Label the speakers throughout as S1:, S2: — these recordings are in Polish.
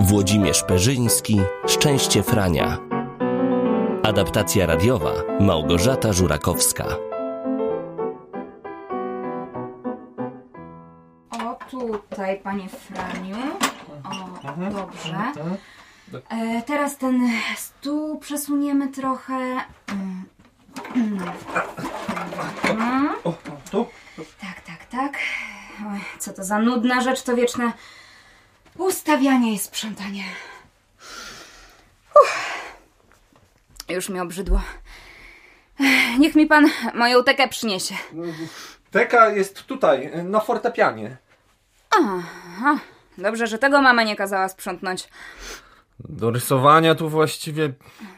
S1: Włodzimierz Perzyński, Szczęście Frania. Adaptacja radiowa Małgorzata Żurakowska.
S2: O, tutaj, panie Franiu. O,
S3: Mhm,
S2: dobrze.
S3: Tak?
S2: E, teraz ten stół przesuniemy trochę. Mm. Mm.
S3: O, tu?
S2: Tak, tak, tak. Oj, co to za nudna rzecz, to wieczne ustawianie i sprzątanie. Uff. Już mi obrzydło. Ech, Niech mi pan moją tekę przyniesie.
S3: Teka jest tutaj, na fortepianie.
S2: Aha, dobrze, że tego mama nie kazała sprzątnąć.
S3: Do rysowania tu właściwie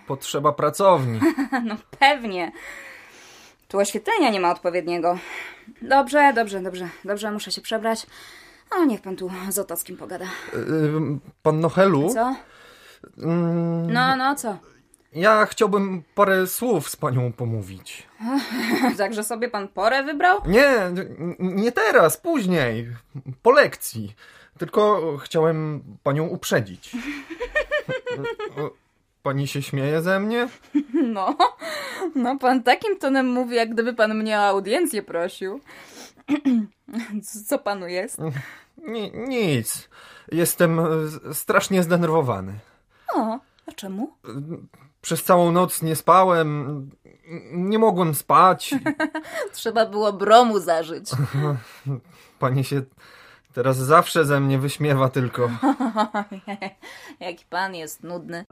S3: potrzeba pracowni.
S2: No pewnie. Tu oświetlenia nie ma odpowiedniego. Dobrze, dobrze, dobrze, dobrze, muszę się przebrać. A niech pan tu z Otockim pogada.
S3: Ym, Pan Nohelu,
S2: Co?
S3: ym,
S2: No, no, co?
S3: ja chciałbym parę słów z panią pomówić.
S2: Także sobie pan porę wybrał?
S3: Nie, n- nie teraz, później, po lekcji. Tylko chciałem panią uprzedzić. O, Pani się śmieje ze mnie?
S2: No, no pan takim tonem mówi, jak gdyby pan mnie o audiencję prosił. Co panu jest?
S3: Ni- nic. Jestem e, strasznie zdenerwowany.
S2: O, a czemu?
S3: Przez całą noc nie spałem, nie mogłem spać.
S2: Trzeba było bromu zażyć.
S3: Pani się teraz zawsze ze mnie wyśmiewa tylko.
S2: Jaki pan jest nudny.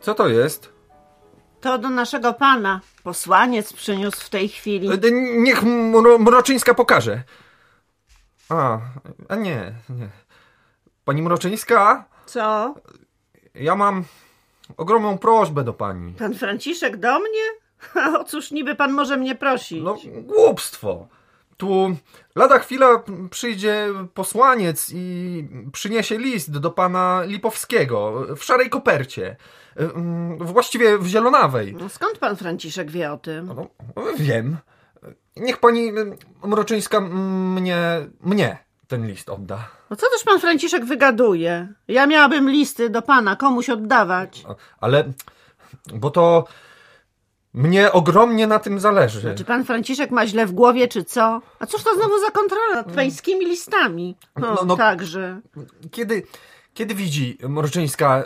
S3: Co to jest?
S4: To do naszego pana posłaniec przyniósł w tej chwili.
S3: E, Niech mro Mroczyńska pokaże. A, a nie, nie. Pani Mroczyńska,
S4: Co?
S3: ja mam ogromną prośbę do pani.
S4: Pan Franciszek do mnie? Ha, O cóż niby pan może mnie prosić?
S3: No, głupstwo. Tu lada chwila przyjdzie posłaniec i przyniesie list do pana Lipowskiego w szarej kopercie. E, mm, Właściwie w zielonawej.
S4: No, skąd pan Franciszek wie o tym?
S3: No, wiem. Niech pani y, Mroczyńska m, mnie, mnie ten list odda.
S4: No co też pan Franciszek wygaduje? Ja miałabym listy do pana komuś oddawać.
S3: A- Ale, bo to mnie ogromnie na tym zależy.
S4: Czy Znaczy, pan Franciszek ma źle w głowie, czy co? A cóż to znowu za kontrola nad pańskimi listami? No,
S3: No, no.
S4: także.
S3: Kiedy, kiedy widzi Mroczyńska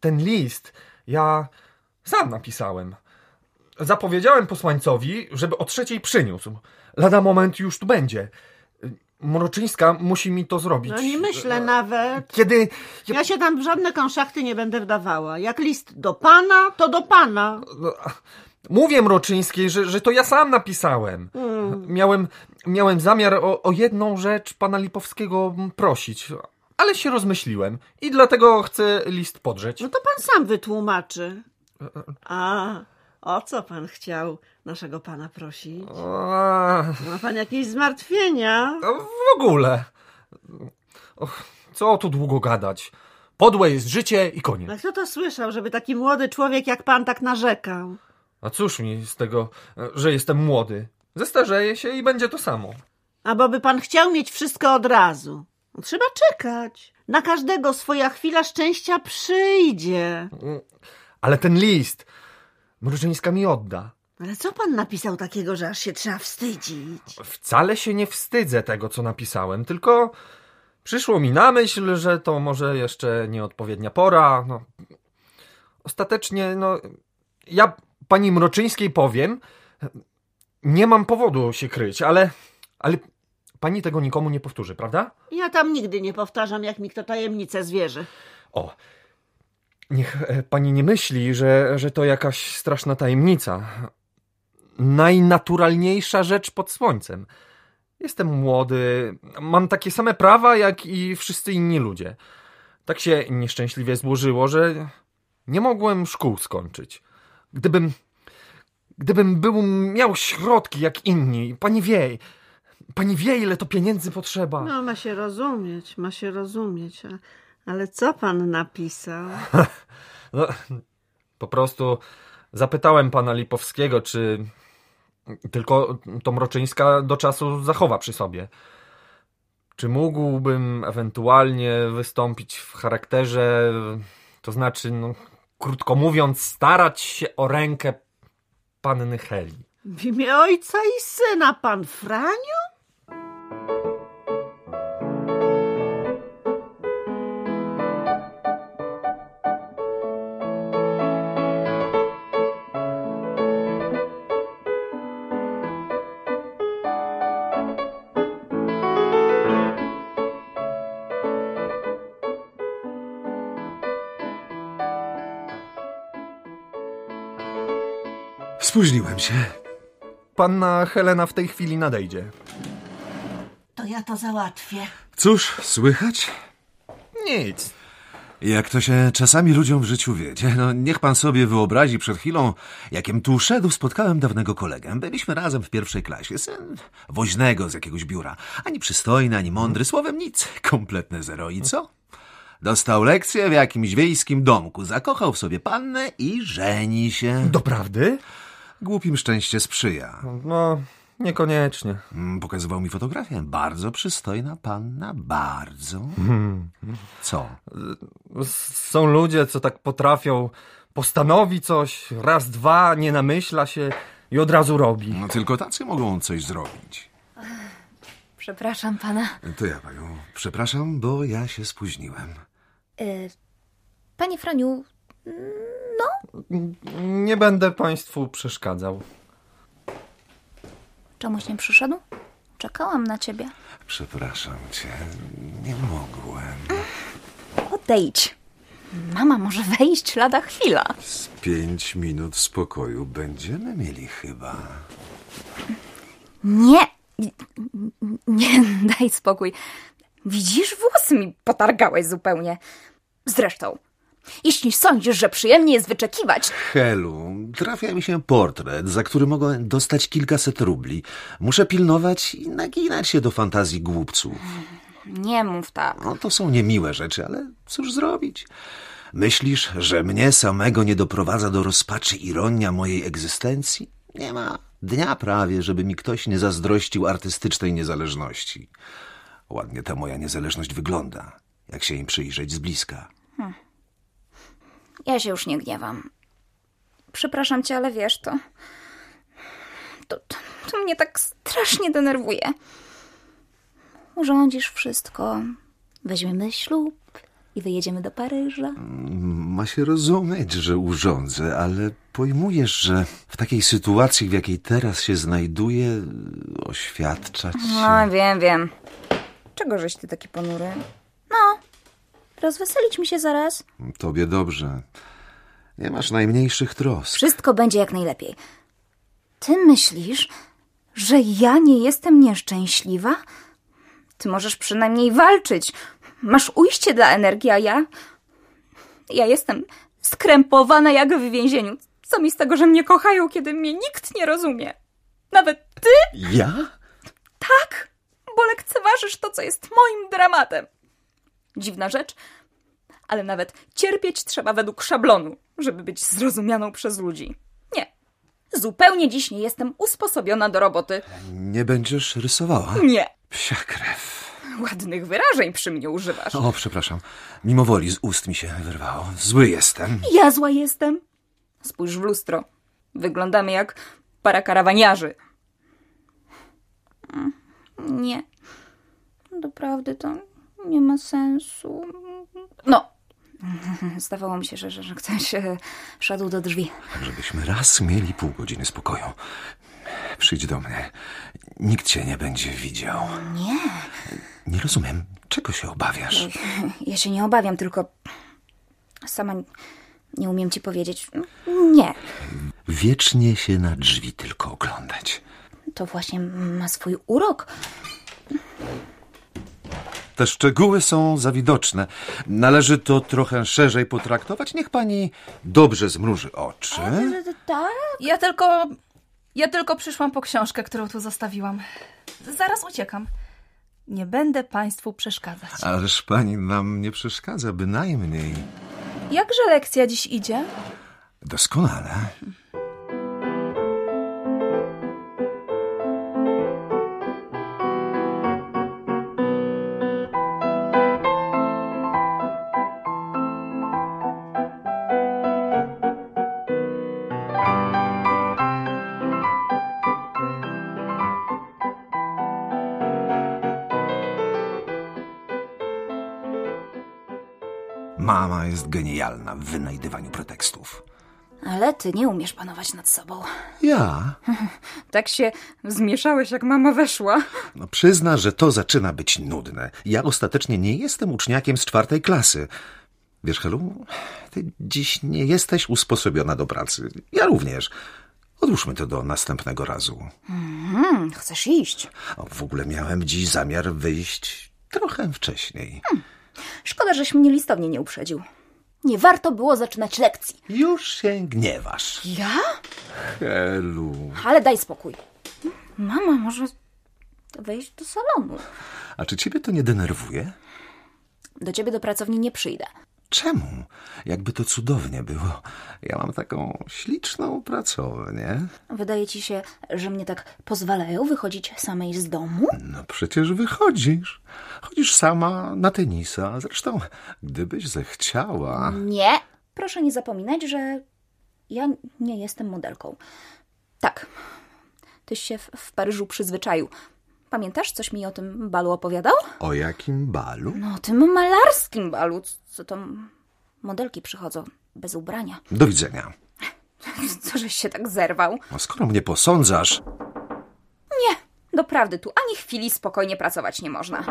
S3: ten list, ja sam napisałem. Zapowiedziałem posłańcowi, żeby o trzeciej przyniósł. Lada moment już tu będzie. Mroczyńska musi mi to zrobić. E,
S4: No nie myślę nawet.
S3: Kiedy...
S4: Ja się tam w żadne konszachty nie będę wdawała. Jak list do pana, to do pana.
S3: No, Mówię Mroczyńskiej, że, że to ja sam napisałem.
S4: Hmm.
S3: Miałem, miałem zamiar o, o jedną rzecz pana Lipowskiego prosić, ale się rozmyśliłem i dlatego chcę list podrzeć.
S4: No to pan sam wytłumaczy. A o co pan chciał naszego pana prosić?
S3: A,
S4: Ma pan jakieś zmartwienia?
S3: no w ogóle. Och, co tu długo gadać? Podłe jest życie i
S4: A
S3: koniec.
S4: No kto to słyszał, żeby taki młody człowiek jak pan tak narzekał?
S3: A cóż mi z tego, że jestem młody? Zestarzeję się i będzie to samo.
S4: Albo by pan chciał mieć wszystko od razu. No, Trzeba czekać. Na każdego swoja chwila szczęścia przyjdzie.
S3: Ale ten list Mroczyńska mi odda.
S4: Ale co pan napisał takiego, że aż się trzeba wstydzić?
S3: Wcale się nie wstydzę tego, co napisałem, tylko przyszło mi na myśl, że to może jeszcze nieodpowiednia pora. No. Ostatecznie, no, ja pani Mroczyńskiej powiem, nie mam powodu się kryć, ale, ale pani tego nikomu nie powtórzy, prawda?
S4: Ja tam nigdy nie powtarzam, jak mi kto tajemnicę zwierzy.
S3: O, niech e, pani nie myśli, że, że to jakaś straszna tajemnica. Najnaturalniejsza rzecz pod słońcem. Jestem młody, mam takie same prawa jak i wszyscy inni ludzie. Tak się nieszczęśliwie złożyło, że Nie mogłem szkół skończyć. Gdybym. Gdybym był miał środki jak inni, pani wie. Pani wie, ile to pieniędzy potrzeba.
S4: No, ma się rozumieć, ma się rozumieć. A, ale co pan napisał?
S3: No, po prostu zapytałem pana Lipowskiego, czy tylko to Mroczyńska do czasu zachowa przy sobie. Czy mógłbym ewentualnie wystąpić w charakterze, to znaczy, no, krótko mówiąc, starać się o rękę panny Heli?
S4: W imię ojca i syna, pan Franiu?
S5: Spóźniłem się.
S3: Panna Helena w tej chwili nadejdzie.
S4: To ja to załatwię.
S5: Cóż, słychać?
S3: Nic.
S5: Jak to się czasami ludziom w życiu wiedzie. No, niech pan sobie wyobrazi przed chwilą, jakiem tu szedł, spotkałem dawnego kolegę. Byliśmy razem w pierwszej klasie, syn woźnego z jakiegoś biura. Ani przystojny, ani mądry, słowem nic. Kompletne zero. I co? Dostał lekcję w jakimś wiejskim domku, zakochał w sobie pannę i żeni się.
S3: Doprawdy?
S5: Głupim szczęście sprzyja.
S3: No, niekoniecznie.
S5: Mm, Pokazywał mi fotografię. Bardzo przystojna panna, bardzo. Co?
S3: Są ludzie, co tak potrafią, postanowi coś, raz, dwa, nie namyśla się i od razu robi.
S5: No tylko tacy mogą coś zrobić.
S6: Przepraszam pana.
S5: To ja panią przepraszam, bo ja się spóźniłem.
S6: Panie Franiu,
S3: Nie będę państwu przeszkadzał.
S6: czemuś nie przyszedł? Czekałam na ciebie.
S5: Przepraszam cię, nie mogłem.
S6: Odejdź. Mama może wejść lada chwila.
S5: Z pięć minut spokoju będziemy mieli chyba.
S2: Nie! Nie, daj spokój. Widzisz, włosy mi potargałeś zupełnie. Zresztą, jeśli sądzisz, że przyjemnie jest wyczekiwać,
S5: Helu, trafia mi się portret, za który mogę dostać kilkaset rubli. Muszę pilnować i naginać się do fantazji głupców.
S2: nie mów tak.
S5: No to są niemiłe rzeczy, ale cóż zrobić? Myślisz, że mnie samego nie doprowadza do rozpaczy ironia mojej egzystencji? Nie ma dnia prawie, żeby mi ktoś nie zazdrościł artystycznej niezależności. Ładnie ta moja niezależność wygląda, jak się im przyjrzeć z bliska.
S2: Ja się już nie gniewam. Przepraszam cię, ale wiesz, to. To, to, to mnie tak strasznie denerwuje.
S6: Urządzisz wszystko. Weźmiemy ślub i wyjedziemy do Paryża.
S2: No,
S5: Ma się rozumieć, że urządzę, ale pojmujesz, że w takiej sytuacji, w jakiej teraz się znajduję, oświadczać
S2: No, wiem, wiem. Czego żeś ty taki ponury?
S6: Rozweselić mi No, się zaraz.
S5: tobie dobrze. Nie masz najmniejszych trosk.
S2: Wszystko będzie jak najlepiej. Ty myślisz, że ja nie jestem nieszczęśliwa? Ty możesz przynajmniej walczyć. Masz ujście dla energii, a ja. Ja jestem skrępowana jak w więzieniu. Co mi z tego, że mnie kochają, kiedy mnie nikt nie rozumie? Nawet ty
S5: Ja?
S2: tak, bo lekceważysz to, co jest moim dramatem. Dziwna rzecz, ale nawet cierpieć trzeba według szablonu, żeby być zrozumianą przez ludzi. Nie, zupełnie dziś nie jestem usposobiona do roboty.
S5: Nie będziesz rysowała?
S2: Nie,
S5: Psia krew.
S2: ładnych wyrażeń przy mnie używasz.
S5: O, przepraszam. Mimo woli z ust mi się wyrwało. Zły jestem.
S2: Ja zła jestem. Spójrz w lustro. Wyglądamy jak para karawaniarzy. Mm,
S6: Nie. Doprawdy to nie ma sensu. No.
S2: Zdawało mi się, że, że, że ktoś e, szedł do drzwi.
S5: Tak, Żebyśmy raz mieli pół godziny spokoju. Przyjdź do mnie. Nikt cię nie będzie widział. Nie. Nie rozumiem. Czego się obawiasz?
S2: Ja się nie obawiam, tylko sama nie umiem ci powiedzieć. Nie.
S5: Wiecznie się na drzwi tylko oglądać.
S2: To właśnie ma swój urok.
S5: Te szczegóły są zawidoczne. Należy to trochę szerzej potraktować. Niech pani dobrze zmruży oczy.
S2: Tak?
S7: Ja tylko. Ja tylko przyszłam po książkę, którą tu zostawiłam. Zaraz uciekam. Nie będę Państwu przeszkadzać.
S5: Ależ pani nam nie przeszkadza, bynajmniej.
S7: Jakże lekcja dziś idzie?
S5: Doskonale. Mama jest genialna w wynajdywaniu pretekstów.
S2: Ale ty nie umiesz panować nad sobą.
S5: Ja
S2: Tak się zmieszałeś, jak mama weszła.
S5: No, przyzna, że to zaczyna być nudne. Ja ostatecznie nie jestem uczniakiem z czwartej klasy. Wiesz, Helu, ty dziś nie jesteś usposobiona do pracy. Ja również. Odłóżmy to do następnego razu.
S2: Hmm, chcesz iść?
S5: O, w ogóle miałem dziś zamiar wyjść trochę wcześniej.
S2: Szkoda, żeś mnie listownie nie uprzedził. Nie warto było zaczynać lekcji.
S5: Już się gniewasz.
S2: Ja?
S5: Helu.
S2: Ale daj spokój. Mama, może wejść do salonu.
S5: A czy ciebie to nie denerwuje?
S2: Do ciebie do pracowni nie przyjdę.
S5: Czemu? Jakby to cudownie było. Ja mam taką śliczną pracownię.
S6: Wydaje ci się, że mnie tak pozwalają wychodzić samej z domu?
S5: No przecież wychodzisz. Chodzisz sama na tenisa. Zresztą, gdybyś zechciała.
S2: Nie.
S6: Proszę nie zapominać, że ja nie jestem modelką.
S2: Tak. Tyś się w, w Paryżu przyzwyczaił. Pamiętasz, coś mi o tym balu opowiadał?
S5: O jakim balu?
S2: No, o tym malarskim balu. Co tam modelki przychodzą bez ubrania.
S5: Do widzenia.
S2: Co żeś się tak zerwał?
S5: No skoro mnie posądzasz.
S2: Doprawdy, tu ani chwili spokojnie pracować nie można.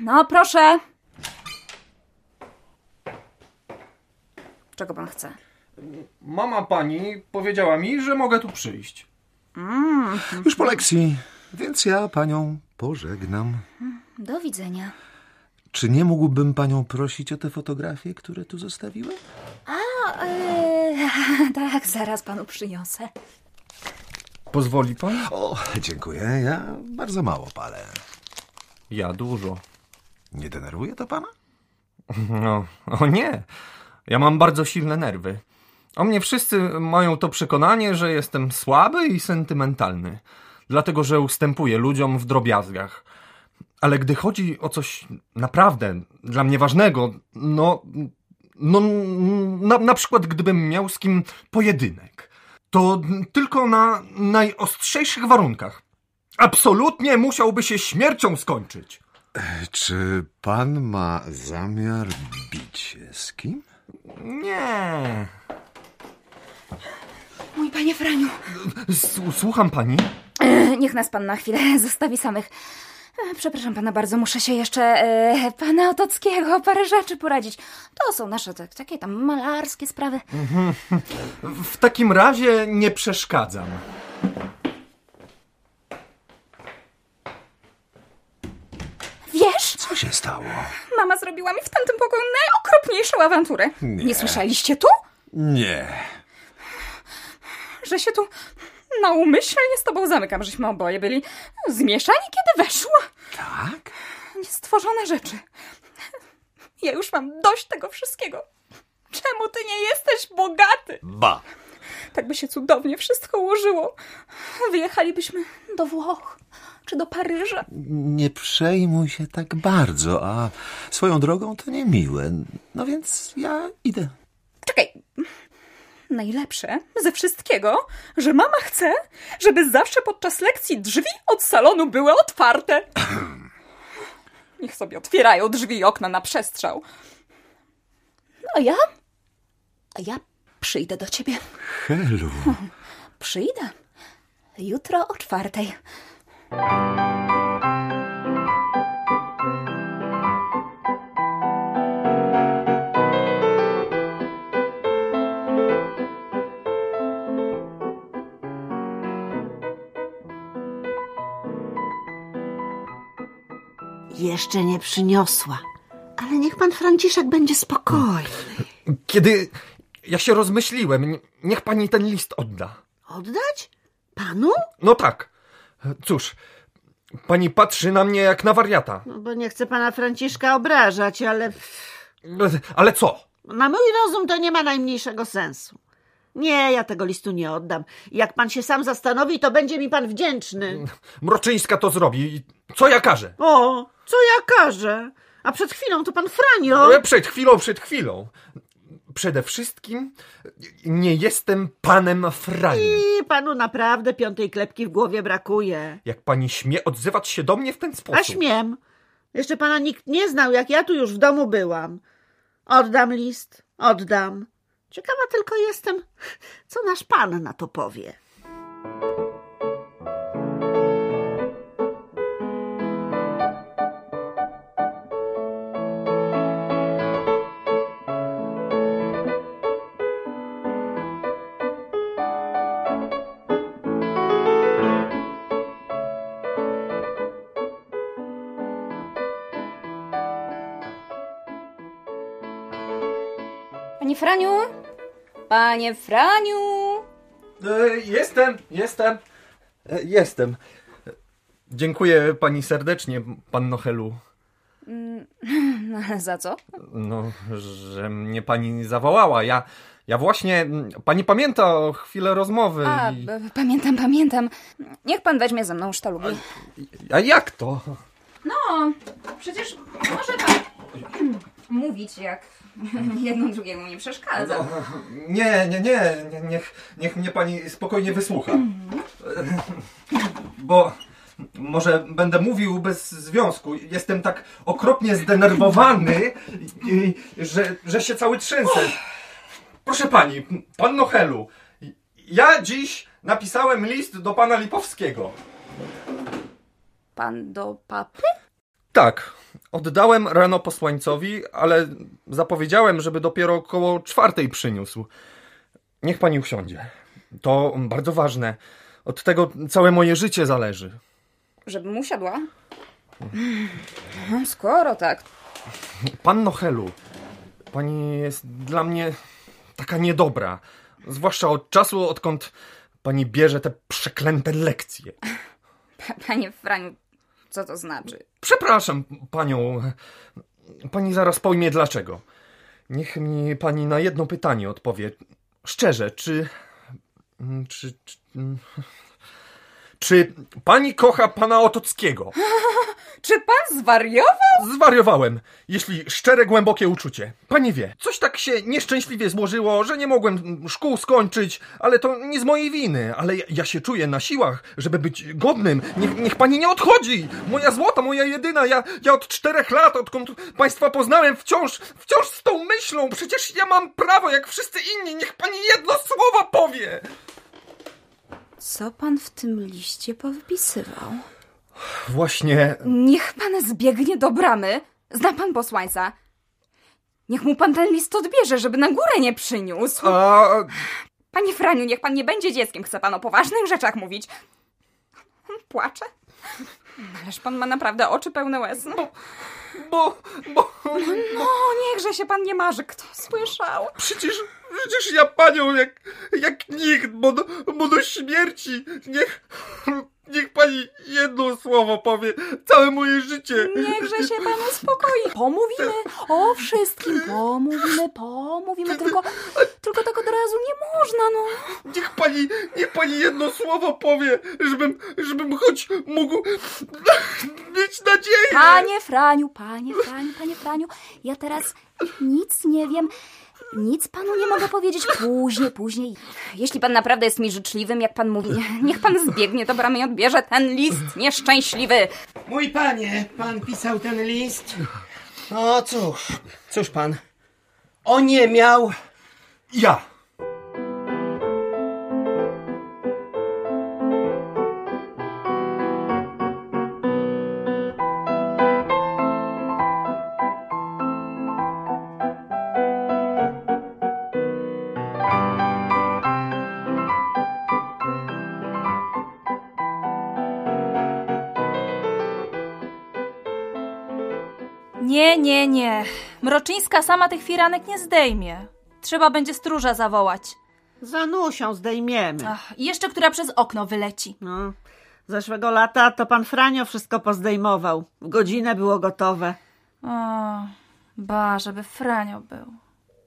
S2: No, proszę. Czego pan chce?
S3: Mama pani powiedziała mi, że mogę tu przyjść.
S5: Już po lekcji, więc ja panią pożegnam.
S2: Do widzenia.
S5: Czy nie mógłbym panią prosić o te fotografie, które tu zostawiłem?
S2: tak, zaraz panu przyniosę.
S3: Pozwoli pan?
S5: O, dziękuję. Ja bardzo mało palę.
S3: Ja dużo.
S5: Nie denerwuje to pana?
S3: No, o nie. Ja mam bardzo silne nerwy. O mnie wszyscy mają to przekonanie, że jestem słaby i sentymentalny. Dlatego, że ustępuję ludziom w drobiazgach. Ale gdy chodzi o coś naprawdę dla mnie ważnego, no. No, na, na przykład, gdybym miał z kim pojedynek, to tylko na najostrzejszych warunkach. Absolutnie musiałby się śmiercią skończyć.
S5: Czy pan ma zamiar bić się z kim?
S3: Nie.
S2: Mój panie Franiu.
S3: S- Słucham pani.
S2: Niech nas pan na chwilę zostawi samych. E, Przepraszam pana bardzo, muszę się jeszcze e, pana Otockiego o parę rzeczy poradzić. To są nasze te, takie tam malarskie sprawy.
S3: W takim razie nie przeszkadzam.
S2: Wiesz,
S5: Co się stało?
S2: mama zrobiła mi w tamtym pokoju najokropniejszą awanturę.
S5: Nie.
S2: Nie słyszeliście tu?
S5: Nie.
S2: Że się tu naumyślnie z tobą zamykam, żeśmy oboje byli zmieszani, kiedy weszła.
S5: Tak?
S2: Niestworzone rzeczy. Ja już mam dość tego wszystkiego. Czemu ty nie jesteś bogaty?
S5: Ba.
S2: Tak by się cudownie wszystko ułożyło. Wyjechalibyśmy do Włoch czy do Paryża.
S5: Nie przejmuj się tak bardzo, a swoją drogą to niemiłe. No więc ja idę.
S2: Czekaj. Najlepsze ze wszystkiego, że mama chce, żeby zawsze podczas lekcji drzwi od salonu były otwarte. Niech sobie otwierają drzwi i okna na przestrzał. No
S6: A ja? A ja przyjdę do ciebie.
S5: Helu.
S6: Przyjdę. Jutro o czwartej.
S4: jeszcze nie przyniosła. Hmm. Ale niech pan Franciszek będzie spokojny.
S3: Kiedy ja się rozmyśliłem, nie- niech pani ten list odda.
S4: Oddać? Panu?
S3: No tak. Cóż, pani patrzy na mnie jak na wariata.
S4: No bo nie chcę pana Franciszka obrażać, ale
S3: Ale co?
S4: na mój rozum to nie ma najmniejszego sensu. Nie, ja tego listu nie oddam. Jak pan się sam zastanowi, to będzie mi pan wdzięczny.
S3: Mroczyńska to zrobi. Co ja każę?
S4: O, co ja każę? A przed chwilą to pan Franio.
S2: No.
S3: Ale E, Przed chwilą, przed chwilą. Przede wszystkim nie jestem panem Franiem.
S4: I panu naprawdę piątej klepki w głowie brakuje.
S3: Jak pani śmie odzywać się do mnie w ten sposób?
S4: A śmiem. Jeszcze pana nikt nie znał, jak ja tu już w domu byłam. Oddam list, oddam. Ciekawa tylko jestem, co nasz pan na to powie.
S6: Panie Franiu! Panie Franiu!
S3: E, Jestem, jestem, e, jestem. E, Dziękuję pani serdecznie, pan Nohelu.
S6: Za co?
S3: No, że mnie pani zawołała. Ja, ja właśnie. Pani pamięta o chwilę rozmowy.
S2: A,
S3: i,
S2: b- pamiętam, pamiętam. Niech pan weźmie ze mną sztalugi.
S3: a jak to?
S2: No, przecież może pan mówić, jak jedno drugiemu nie przeszkadza.
S3: Nie, nie, nie. nie- Niech, niech mnie pani spokojnie wysłucha. Bo może będę mówił bez związku. Jestem tak okropnie zdenerwowany, i- i- że, że się cały trzęsę. Proszę pani, pan Nohelu, ja dziś napisałem list do pana Lipowskiego.
S2: Pan do papy?
S3: Tak. Oddałem rano posłańcowi, ale zapowiedziałem, żeby dopiero około czwartej przyniósł. Niech pani usiądzie. To bardzo ważne. Od tego całe moje życie zależy.
S2: Żebym usiadła? No, skoro tak,
S3: Pan Nohelu, pani jest dla mnie taka niedobra. Zwłaszcza od czasu, odkąd pani bierze te przeklęte lekcje.
S2: pa- panie Franiu, co to znaczy?
S3: Przepraszam panią. Pani zaraz pojmie dlaczego. Niech mi pani na jedno pytanie odpowie. Szczerze, czy. Czy. Czy, czy pani kocha pana Otockiego?
S2: Czy pan zwariował?
S3: Zwariowałem. Jeśli szczere, głębokie uczucie. Pani wie, coś tak się nieszczęśliwie złożyło, że nie mogłem szkół skończyć, ale to nie z mojej winy. Ale ja, ja się czuję na siłach, żeby być godnym. Niech, niech pani nie odchodzi! Moja złota, moja jedyna. Ja, ja od czterech lat, odkąd państwa poznałem, wciąż, wciąż z tą myślą. Przecież ja mam prawo, jak wszyscy inni. Niech pani jedno słowo powie!
S2: Co pan w tym liście powypisywał?
S3: Właśnie
S2: Niech pan zbiegnie do bramy. Zna pan posłańca. Niech mu pan ten list odbierze, żeby na górę nie przyniósł.
S3: a,
S2: Panie Franiu, niech pan nie będzie dzieckiem. Chce pan o poważnych rzeczach mówić. Płacze? Ależ pan ma naprawdę oczy pełne łez. No,
S3: bo, bo...
S2: no niechże się pan nie marzy. Kto słyszał?
S3: Przecież, przecież ja panią jak, jak nikt, bo do, bo do śmierci niech, niech pani jedno słowo powie, całe moje życie.
S6: Niechże się pan uspokoi. Pomówimy o wszystkim. Pomówimy,
S2: No,
S6: pomówimy. Tylko, tylko tak od razu nie można, no.
S3: Niech pani, niech pani jedno słowo powie, żebym, żebym choć mógł mieć nadzieję.
S6: Panie Franiu, panie Franiu, panie Franiu, ja teraz nic nie wiem. Nic panu nie mogę powiedzieć. Później, później.
S2: Jeśli pan naprawdę jest mi życzliwym, jak pan mówi, niech pan zbiegnie do bramy i odbierze ten list nieszczęśliwy.
S8: Mój panie, pan pisał ten list. No cóż, cóż pan. O nie miał.
S3: Ja.
S9: Nie, nie, nie. Mroczyńska sama tych firanek nie zdejmie. Trzeba będzie stróża zawołać.
S4: Zanusią zdejmiemy.
S9: Ach, i jeszcze która przez okno wyleci.
S4: No. Zeszłego lata to pan Franio wszystko pozdejmował. W godzinę było gotowe.
S9: O, ba, żeby Franio był.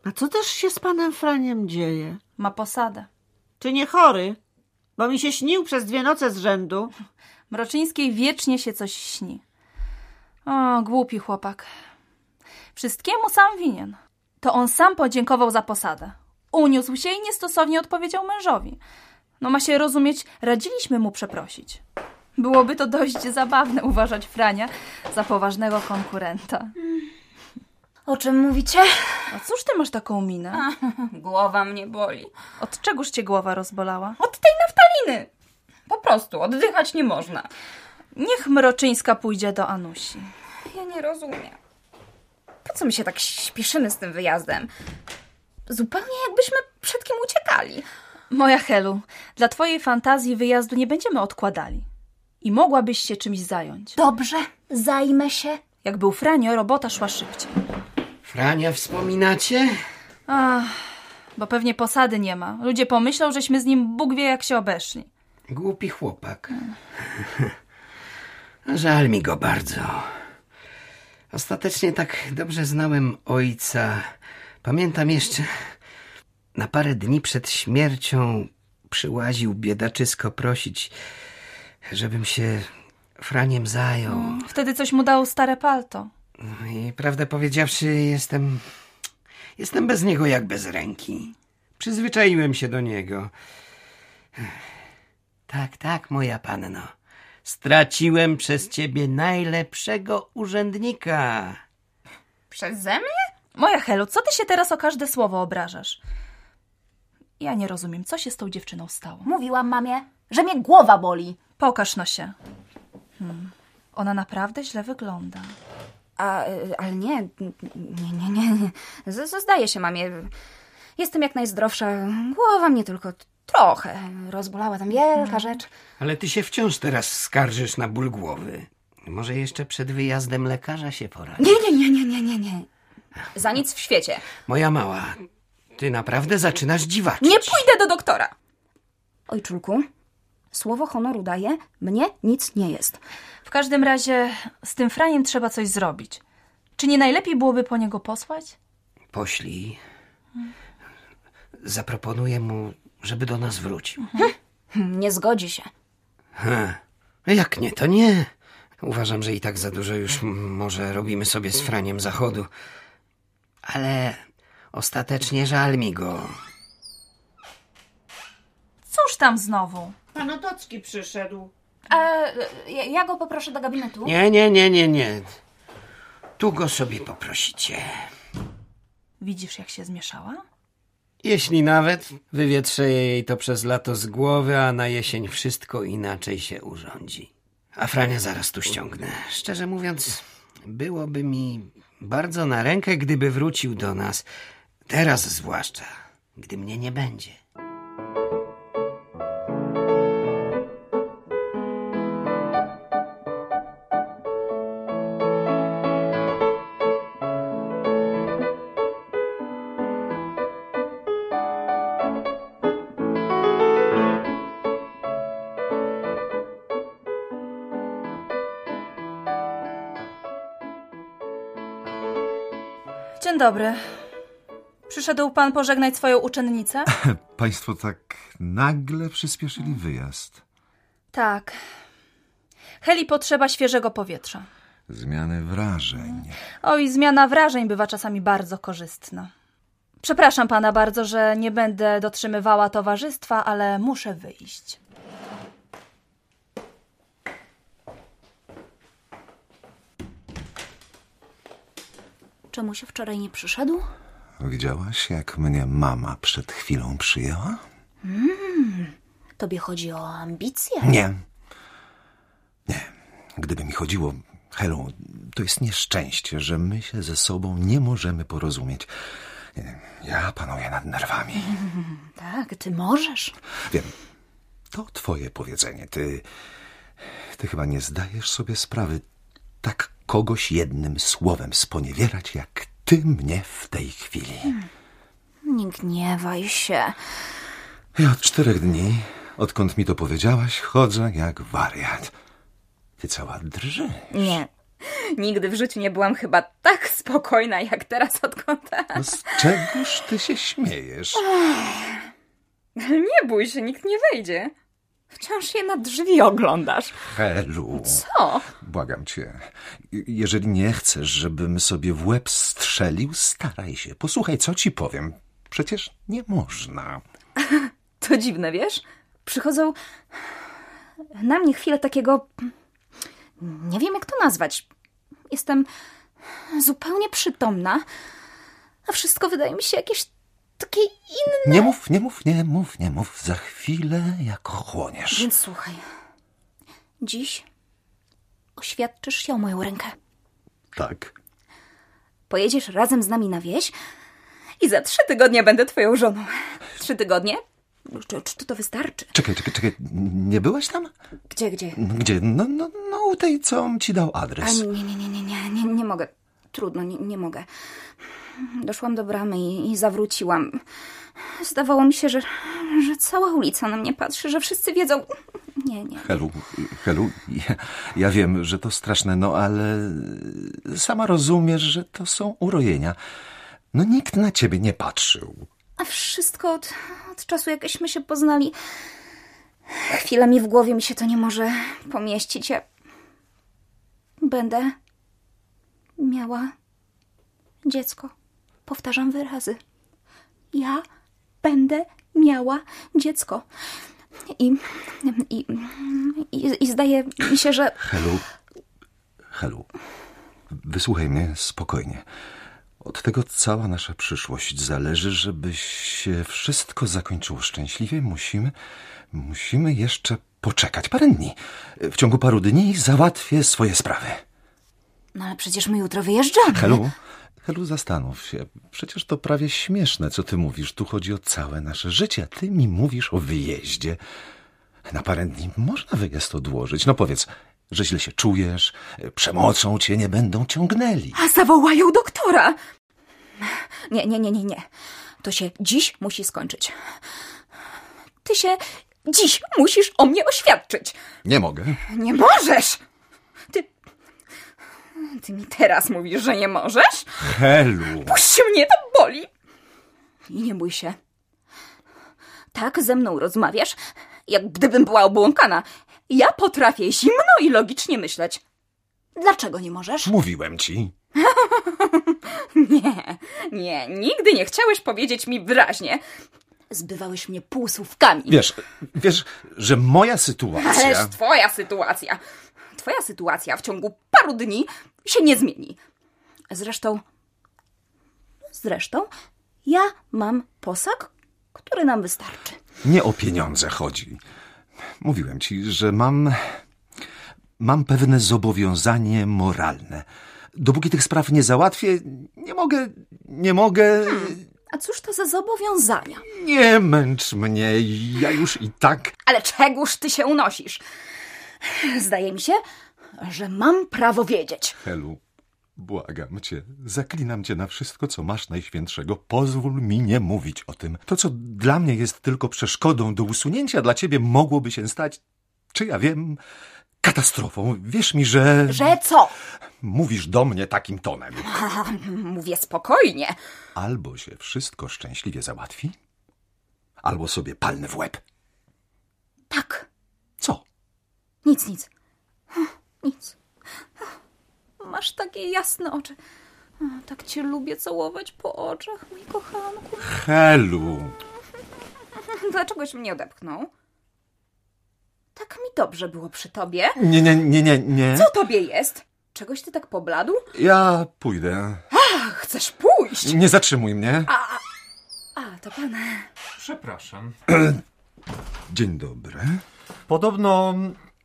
S4: A co też się z panem Franiem dzieje?
S9: Ma posadę.
S4: Czy nie chory? Bo mi się śnił przez dwie noce z rzędu.
S9: Mroczyńskiej wiecznie się coś śni. O, głupi chłopak. Wszystkiemu sam winien. To on sam podziękował za posadę. Uniósł się i niestosownie odpowiedział mężowi. No ma się rozumieć, radziliśmy mu przeprosić. Byłoby to dość zabawne uważać Frania za poważnego konkurenta.
S2: O czym mówicie?
S9: A cóż ty masz taką minę?
S10: Głowa mnie boli.
S9: Od czegóż cię głowa rozbolała?
S10: Od tej naftaliny. Po prostu, oddychać nie można.
S9: Niech Mroczyńska pójdzie do Anusi.
S10: Ja nie rozumiem. Po co my się tak śpieszymy z tym wyjazdem? Zupełnie jakbyśmy przed kim uciekali.
S9: Moja Helu, dla twojej fantazji wyjazdu nie będziemy odkładali. I mogłabyś się czymś zająć.
S2: Dobrze, zajmę się.
S9: Jak był Franio, robota szła szybciej.
S3: Frania wspominacie?
S9: Ach, bo pewnie posady nie ma. Ludzie pomyślą, żeśmy z nim Bóg wie jak się obeszli.
S3: Głupi chłopak. Żal mi go bardzo. Ostatecznie tak dobrze znałem ojca. Pamiętam jeszcze, na parę dni przed śmiercią przyłaził biedaczysko prosić, żebym się Franiem zajął.
S9: Wtedy coś mu dało stare palto.
S3: No I prawdę powiedziawszy, jestem. Jestem bez niego jak bez ręki. Przyzwyczaiłem się do niego. Tak, tak, moja panno. Straciłem przez ciebie najlepszego urzędnika.
S10: Przeze mnie?
S9: Moja Helu, co ty się teraz o każde słowo obrażasz? Ja nie rozumiem, co się z tą dziewczyną stało.
S2: Mówiłam mamie, że mnie głowa boli.
S9: Pokaż no się. Hmm. Ona naprawdę źle wygląda.
S2: A, y, ale nie, nie, nie, nie. nie. Z, z- zdaje się, mamie. Jestem jak najzdrowsza. Głowa mnie tylko t- trochę rozbolała. Tam wielka rzecz.
S3: Ale ty się wciąż teraz skarżysz na ból głowy. Może jeszcze przed wyjazdem lekarza się poradzi.
S2: Nie, nie, nie, nie, nie, nie, nie.
S10: Za nic w świecie.
S3: Moja mała, ty naprawdę zaczynasz dziwaczyć.
S10: Nie pójdę do doktora.
S2: Ojczulku, słowo honoru daję, mnie nic nie jest.
S9: W każdym razie z tym Franiem trzeba coś zrobić. Czy nie najlepiej byłoby po niego posłać?
S3: Poślij. Zaproponuję mu, żeby do nas wrócił.
S2: Nie zgodzi się.
S3: Ha, jak nie, to nie. Uważam, że i tak za dużo już m- może robimy sobie z Franiem zachodu. Ale ostatecznie żal mi go.
S9: Cóż tam znowu?
S4: Pan Otocki przyszedł.
S9: E,
S2: ja, go poproszę do gabinetu.
S3: Nie, nie, nie, nie, nie. Tu go sobie poprosicie.
S9: Widzisz, jak się zmieszała?
S3: Jeśli nawet, wywietrze jej to przez lato z głowy, a na jesień wszystko inaczej się urządzi. A Frania zaraz tu ściągnę. Szczerze mówiąc, byłoby mi bardzo na rękę, gdyby wrócił do nas. Teraz zwłaszcza, gdy mnie nie będzie.
S9: Dzień dobry. Przyszedł pan pożegnać swoją uczennicę?
S5: Państwo tak nagle przyspieszyli wyjazd.
S9: Tak. Heli potrzeba świeżego powietrza.
S5: Zmiany wrażeń.
S9: Oj, zmiana wrażeń bywa czasami bardzo korzystna. Przepraszam pana bardzo, że nie będę dotrzymywała towarzystwa, ale muszę wyjść.
S2: Czemu się wczoraj nie przyszedł?
S5: Widziałaś, jak mnie mama przed chwilą przyjęła?
S2: Tobie chodzi o ambicje?
S5: Nie. Nie. Gdyby mi chodziło, Helu, to jest nieszczęście, że my się ze sobą nie możemy porozumieć. Nie, Ja panuję nad nerwami.
S2: Tak, ty możesz.
S5: Wiem, to twoje powiedzenie. Ty, ty chyba nie zdajesz sobie sprawy, tak kogoś jednym słowem sponiewierać, jak ty mnie w tej chwili.
S11: Nie gniewaj się.
S5: Ja od czterech dni, odkąd mi to powiedziałaś, chodzę jak wariat. Ty cała drży.
S2: Nie. Nigdy w życiu nie byłam chyba tak spokojna jak teraz od kąta.
S5: No z czegoż ty się śmiejesz?
S2: Ale nie bój się, nikt nie wejdzie. Wciąż je na drzwi oglądasz.
S5: Helu.
S2: O,
S5: Błagam cię, je- jeżeli nie chcesz, żebym sobie w łeb strzelił, staraj się. Posłuchaj, co ci powiem. Przecież nie można.
S2: to dziwne, wiesz? Przychodzą na mnie chwile takiego... Nie wiem, jak to nazwać. Jestem zupełnie przytomna, a wszystko wydaje mi się jakieś takie inne.
S5: Nie mów, nie mów, nie mów, nie mów. Za chwilę jak chłoniesz.
S2: Więc słuchaj. Dziś oświadczysz się o moją rękę.
S5: Tak.
S2: Pojedziesz razem z nami na wieś i za trzy tygodnie będę twoją żoną. Trzy tygodnie? No, Czy, czy to wystarczy?
S5: Czekaj, czekaj, czekaj. Nie byłaś tam?
S2: Gdzie, gdzie?
S5: Gdzie? No, no, no u tej, co ci dał
S2: A
S5: adres.
S2: nie, nie, nie, nie, nie, nie, nie mogę. Trudno, nie, nie mogę. Doszłam do bramy i, i zawróciłam. Zdawało mi się, że, że cała ulica na mnie patrzy, że wszyscy wiedzą. Nie, nie.
S5: Helu, Helu, ja, ja wiem, że to straszne, no ale sama rozumiesz, że to są urojenia. No nikt na ciebie nie patrzył.
S2: A wszystko od, od czasu, jakśmy się poznali. Chwilami w głowie mi się to nie może pomieścić. Ja będę miała dziecko. Powtarzam wyrazy. Ja będę miała dziecko. I, i, i, i zdaje mi się, że.
S5: Helu, Helu, wysłuchaj mnie spokojnie. Od tego cała nasza przyszłość zależy, żeby się wszystko zakończyło szczęśliwie. Musimy, musimy jeszcze poczekać parę dni. W ciągu paru dni załatwię swoje sprawy.
S11: No ale przecież my jutro wyjeżdżamy.
S5: Helu, Helu, zastanów się. Przecież to prawie śmieszne, co ty mówisz. Tu chodzi o całe nasze życie, a ty mi mówisz o wyjeździe. Na parę dni można wyjazd odłożyć. No powiedz, że źle się czujesz, y, przemocą cię nie będą ciągnęli.
S2: A zawołają doktora! Nie, nie, nie, nie, nie. To się dziś musi skończyć. Ty się dziś musisz o mnie oświadczyć.
S5: Nie mogę.
S2: Nie możesz! Ty. Ty mi teraz mówisz, że nie możesz?
S5: Helu,
S2: Puść mnie, to boli! I nie bój się. Tak ze mną rozmawiasz, jak gdybym była obłąkana. Ja potrafię zimno i logicznie myśleć. Dlaczego nie możesz?
S5: mówiłem ci.
S2: Nie, nie, nigdy nie chciałeś powiedzieć mi wyraźnie. Zbywałeś mnie półsłówkami.
S5: Wiesz, wiesz, że moja sytuacja...
S2: Ależ twoja sytuacja. Twoja sytuacja w ciągu paru dni się nie zmieni. Zresztą. Zresztą ja mam posag, który nam wystarczy.
S5: Nie o pieniądze chodzi. Mówiłem ci, że mam. Mam pewne zobowiązanie moralne. Dopóki tych spraw nie załatwię, nie mogę. Nie mogę.
S2: A cóż to za zobowiązania?
S5: Nie męcz mnie. Ja już i tak.
S2: Ale czegóż ty się unosisz? Zdaje mi się, że mam prawo wiedzieć.
S5: Helu, błagam cię. Zaklinam cię na wszystko, co masz najświętszego. Pozwól mi nie mówić o tym. To, co dla mnie jest tylko przeszkodą do usunięcia, dla ciebie mogłoby się stać, czy ja wiem, katastrofą. Wierz mi, że.
S11: Że co?
S5: Mówisz do mnie takim tonem.
S2: Mówię spokojnie.
S5: Albo się wszystko szczęśliwie załatwi, albo sobie palnę w łeb.
S2: Tak,
S5: Co?
S2: nic, nic. Hm, Nic. Hm, Masz takie jasne oczy. Tak cię lubię całować po oczach, mój kochanku.
S5: Helu!
S2: Dlaczegoś mnie odepchnął? Tak mi dobrze było przy tobie.
S5: Nie, nie, nie, nie, nie.
S2: Co tobie jest? Czegoś ty tak pobladł?
S5: Ja pójdę.
S2: Chcesz pójść?
S5: Nie zatrzymuj mnie.
S2: A, to pan.
S3: Przepraszam.
S5: Dzień dobry.
S3: Podobno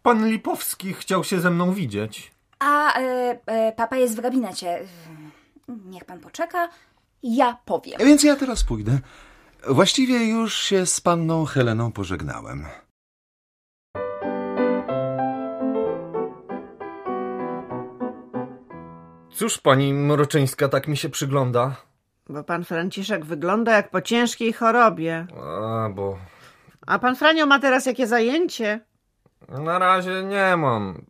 S3: pan Lipowski chciał się ze mną widzieć.
S11: A e, e, papa jest w gabinecie.
S2: Hm,
S11: Niech pan poczeka. Ja powiem.
S5: Więc ja teraz pójdę. Właściwie już się z panną Heleną pożegnałem.
S3: Cóż pani Mroczyńska tak mi się przygląda?
S4: Bo pan Franciszek wygląda jak po ciężkiej chorobie.
S3: A, bo
S4: A pan Franio ma teraz jakie zajęcie?
S3: na razie nie mam.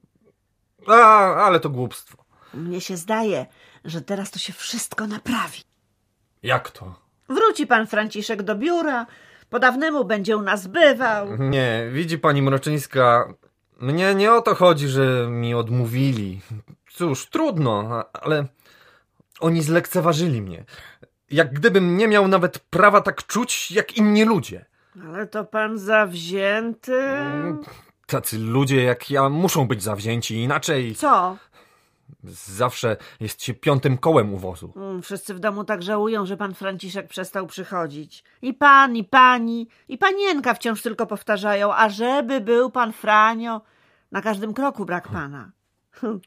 S3: A, ale to głupstwo.
S4: Mnie się zdaje, że teraz to się wszystko naprawi.
S3: Jak to?
S4: Wróci pan Franciszek do biura, po dawnemu będzie u nas bywał.
S3: Mhm. Nie, widzi pani Mroczyńska, mnie nie o to chodzi, że mi odmówili. Cóż, trudno, a- ale oni zlekceważyli mnie. Jak gdybym nie miał nawet prawa tak czuć, jak inni ludzie.
S4: Ale to pan zawzięty. Mm.
S3: Tacy ludzie jak ja muszą być zawzięci, inaczej
S4: Co?
S3: zawsze jest się piątym kołem u wozu.
S4: Mm, Wszyscy w domu tak żałują, że pan Franciszek przestał przychodzić. I pan, i pani, i panienka wciąż tylko powtarzają, a żeby był pan Franio. Na każdym kroku brak pana. Hm.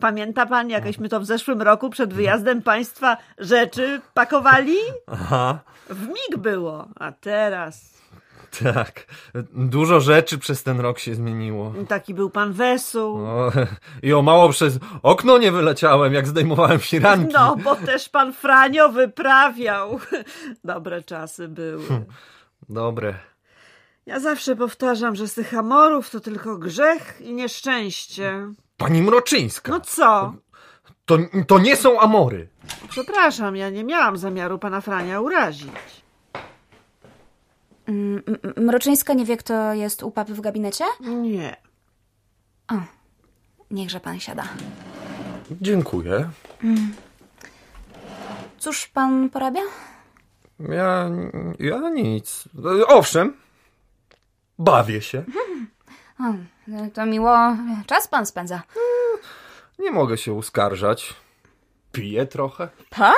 S4: Pamięta pan, jakieśmy to w zeszłym roku przed wyjazdem państwa rzeczy pakowali?
S3: Aha,
S4: W mig było, a teraz.
S3: tak. Dużo rzeczy przez ten rok się zmieniło.
S4: Taki był pan Wesół.
S3: O, I o mało przez okno nie wyleciałem, jak zdejmowałem firanki.
S4: No, bo też pan Franio wyprawiał. Dobre czasy były.
S3: Dobre.
S4: Ja zawsze powtarzam, że z tych amorów to tylko grzech i nieszczęście.
S3: Pani Mroczyńska,
S4: No co?
S3: to, to nie są amory.
S4: Przepraszam, ja nie miałam zamiaru pana Frania urazić.
S9: Mroczyńska nie wie, kto jest u papy w gabinecie?
S4: Nie.
S9: Niechże pan siada.
S3: Dziękuję.
S9: Cóż pan porabia?
S3: Ja, ja nic. Mhm. Owszem, bawię się.
S9: O, no to miło. Czas pan spędza.
S3: Nie mogę się uskarżać. Piję trochę.
S6: Pan?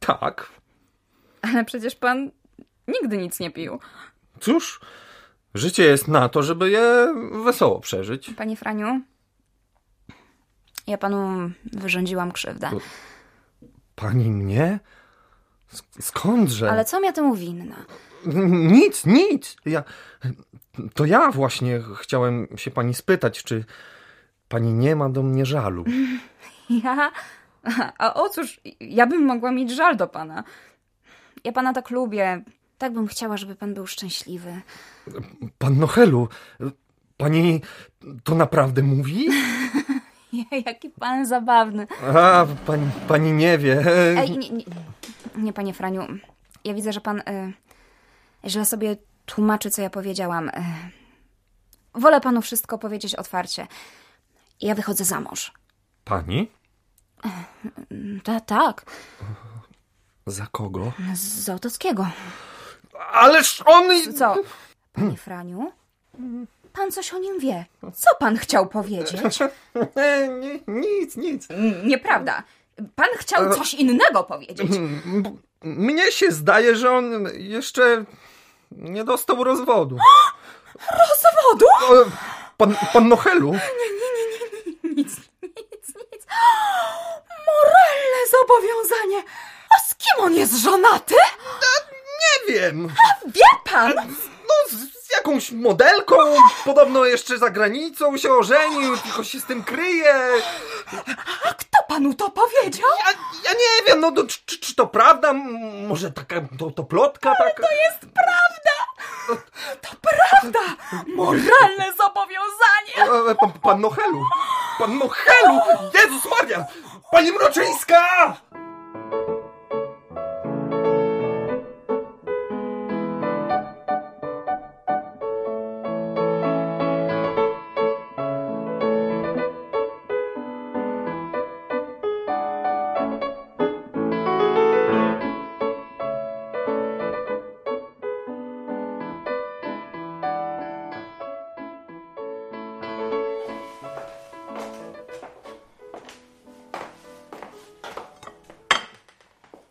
S3: Tak.
S6: Ale przecież pan nigdy nic nie pił.
S3: Cóż, życie jest na to, żeby je wesoło przeżyć.
S9: Panie Franiu, ja panu wyrządziłam krzywdę.
S3: Pani mnie? Sk- Skądże?
S9: Ale co ja temu winna?
S3: N- Nic, nic. Ja, to ja właśnie chciałem się pani spytać, czy pani nie ma do mnie żalu.
S6: Ja? A o cóż, ja bym mogła mieć żal do pana.
S9: Ja pana tak lubię. Tak bym chciała, żeby pan był szczęśliwy.
S3: Pan Nohelu, pani to naprawdę mówi?
S9: Jaki pan zabawny.
S3: A, pani, pani nie wie.
S9: Ej, nie, nie, nie, panie Franiu. Ja widzę, że pan y, źle sobie tłumaczy, co ja powiedziałam. Y, wolę panu wszystko powiedzieć otwarcie. Ja wychodzę za mąż.
S3: Pani?
S9: Ta, tak,
S3: Za kogo?
S9: z z Załotowskiego.
S3: Ależ on...
S9: Co? Panie Franiu? Pan coś o nim wie. Co pan chciał powiedzieć?
S3: Nie, nie, nic, nic.
S6: Nieprawda. Pan chciał coś innego powiedzieć.
S3: M- Mnie się zdaje, że on jeszcze nie dostał rozwodu.
S6: Zawodu?
S3: O, Pan, pan Nohelu?
S6: Moralne zobowiązanie. A z kim on jest żonaty?
S3: Nie wiem.
S6: Wie pan?
S3: No, z, z jakąś modelką. Podobno jeszcze za granicą się ożenił, tylko się z tym kryje.
S6: Kto panu to powiedział?
S3: Ja, ja nie wiem, no to, czy, czy- czy to prawda? M- Może taka to, to plotka taka?
S6: Prawda? Moralne zobowiązanie.
S3: E, Pan, pan Nohelu! Pan Nohelu! Jezus Maria! Pani Mroczyńska!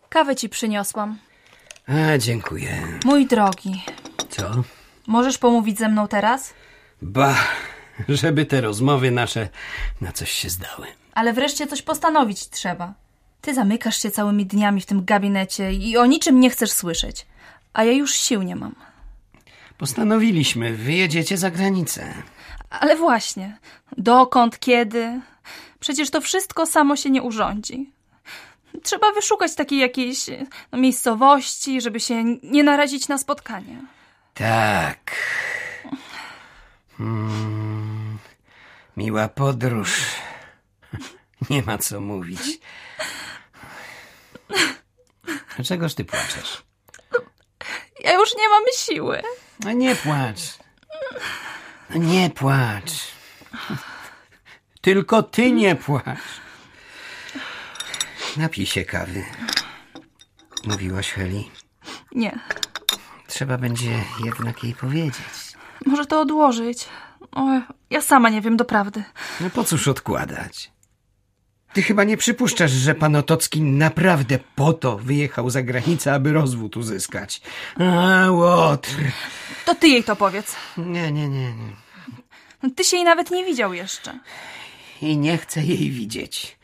S7: Kawę ci przyniosłam.
S8: A, dziękuję.
S7: Mój drogi,
S8: Co?
S7: możesz pomówić ze mną teraz?
S8: Ba, żeby te rozmowy nasze na coś się zdały.
S7: Ale wreszcie coś postanowić trzeba. Ty zamykasz się całymi dniami w tym gabinecie i o niczym nie chcesz słyszeć. A ja już sił nie mam.
S8: Postanowiliśmy, wyjedziecie za granicę.
S7: Ale właśnie, dokąd, kiedy? Przecież to wszystko samo się nie urządzi. Trzeba wyszukać takiej jakiejś no, miejscowości, żeby się nie narazić na spotkanie.
S8: Tak. Mm, miła podróż. Nie ma co mówić. Dlaczegoż ty płaczesz?
S7: Ja już nie mam siły.
S8: No nie płacz. No nie płacz. Tylko ty nie płacz. Napij się kawy. Mówiłaś Heli.
S7: Nie.
S8: Trzeba będzie jednak jej powiedzieć.
S7: Może to odłożyć. O, ja sama nie wiem doprawdy.
S8: No po cóż odkładać? Ty chyba nie przypuszczasz, że pan Otocki naprawdę po to wyjechał za granicę, aby rozwód uzyskać. A, Łotr.
S7: To ty jej to powiedz. No,
S8: Nie, nie, nie, nie.
S7: Ty się jej nawet nie widział jeszcze.
S8: i nie chcę jej widzieć.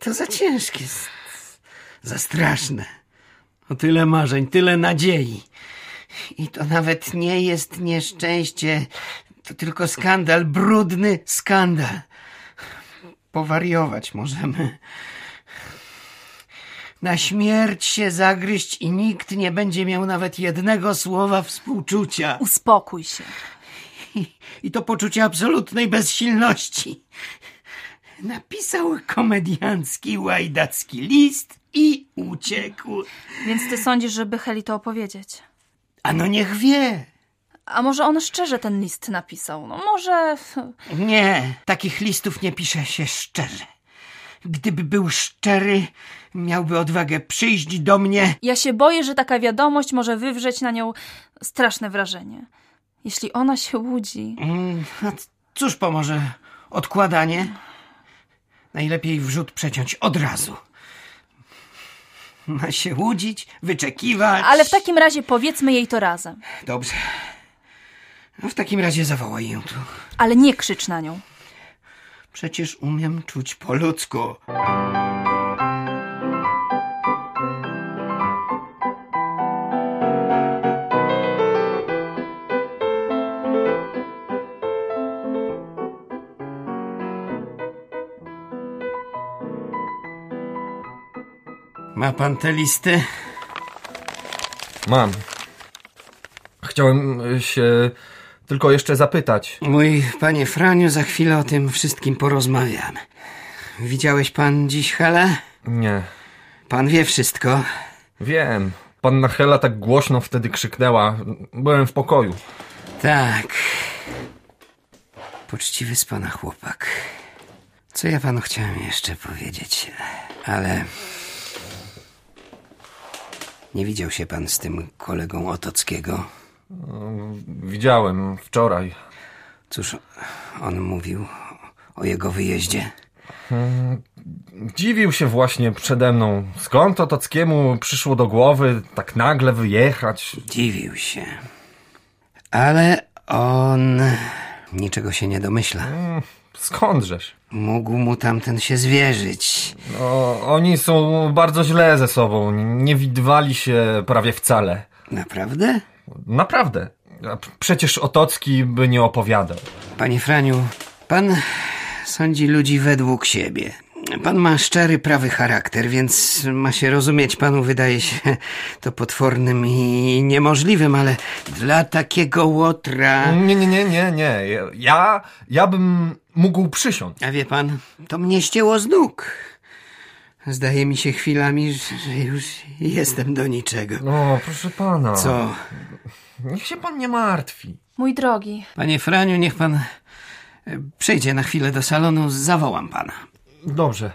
S8: To za ciężkie, z- za straszne. O tyle marzeń, tyle nadziei. I to nawet nie jest nieszczęście, to tylko skandal, brudny skandal. Powariować możemy. Na śmierć się zagryźć i nikt nie będzie miał nawet jednego słowa współczucia.
S7: Uspokój się.
S8: I, i to poczucie absolutnej bezsilności. Napisał komediancki, łajdacki list i uciekł.
S7: Więc ty sądzisz, żeby Heli to opowiedzieć?
S8: A no niech wie.
S7: A może on szczerze ten list napisał? No może...
S8: Nie, takich listów nie pisze się szczerze. Gdyby był szczery, miałby odwagę przyjść do mnie.
S7: Ja się boję, że taka wiadomość może wywrzeć na nią straszne wrażenie. Jeśli ona się łudzi...
S8: Mm, a c- Cóż pomoże odkładanie? Najlepiej wrzut przeciąć od razu. Ma się łudzić, wyczekiwać.
S7: Ale w takim razie powiedzmy jej to razem.
S8: Dobrze. No w takim razie zawołaj ją tu.
S7: Ale nie krzycz na nią.
S8: Przecież umiem czuć po ludzku. Ma pan te listy?
S3: Mam. Chciałem y, się tylko jeszcze zapytać.
S8: Mój panie Franiu, za chwilę o tym wszystkim porozmawiam. Widziałeś pan dziś Helę?
S3: Nie.
S8: Pan wie wszystko.
S3: Wiem. Panna Hela tak głośno wtedy krzyknęła. Byłem w pokoju.
S8: Tak. Poczciwy z pana chłopak. Co ja panu chciałem jeszcze powiedzieć, ale. Nie widział się pan z tym kolegą Otockiego.
S3: Widziałem wczoraj.
S8: Cóż, on mówił o jego wyjeździe.
S3: Dziwił się właśnie przede mną. Skąd Otockiemu przyszło do głowy tak nagle wyjechać?
S8: Dziwił się. Ale on niczego się nie domyśla.
S3: Skądżeś?
S8: Mógł mu tamten się zwierzyć.
S3: No, oni są bardzo źle ze sobą. Nie widywali się prawie wcale.
S8: Naprawdę?
S3: Naprawdę. A p- Przecież Otocki by nie opowiadał.
S8: Panie Franiu, pan sądzi ludzi według siebie. Pan ma szczery, prawy charakter, więc ma się rozumieć. Panu wydaje się to potwornym i niemożliwym, ale dla takiego łotra.
S3: Nie, nie, nie, nie, nie. Ja, ja bym mógł przysiąc.
S8: A wie pan, to mnie ścięło z nóg. Zdaje mi się chwilami, że już jestem do niczego.
S3: No, proszę pana.
S8: Co?
S3: Niech się pan nie martwi.
S7: Mój drogi,
S8: Panie Franiu, niech pan e, przyjdzie na chwilę do salonu, zawołam pana.
S3: Dobrze.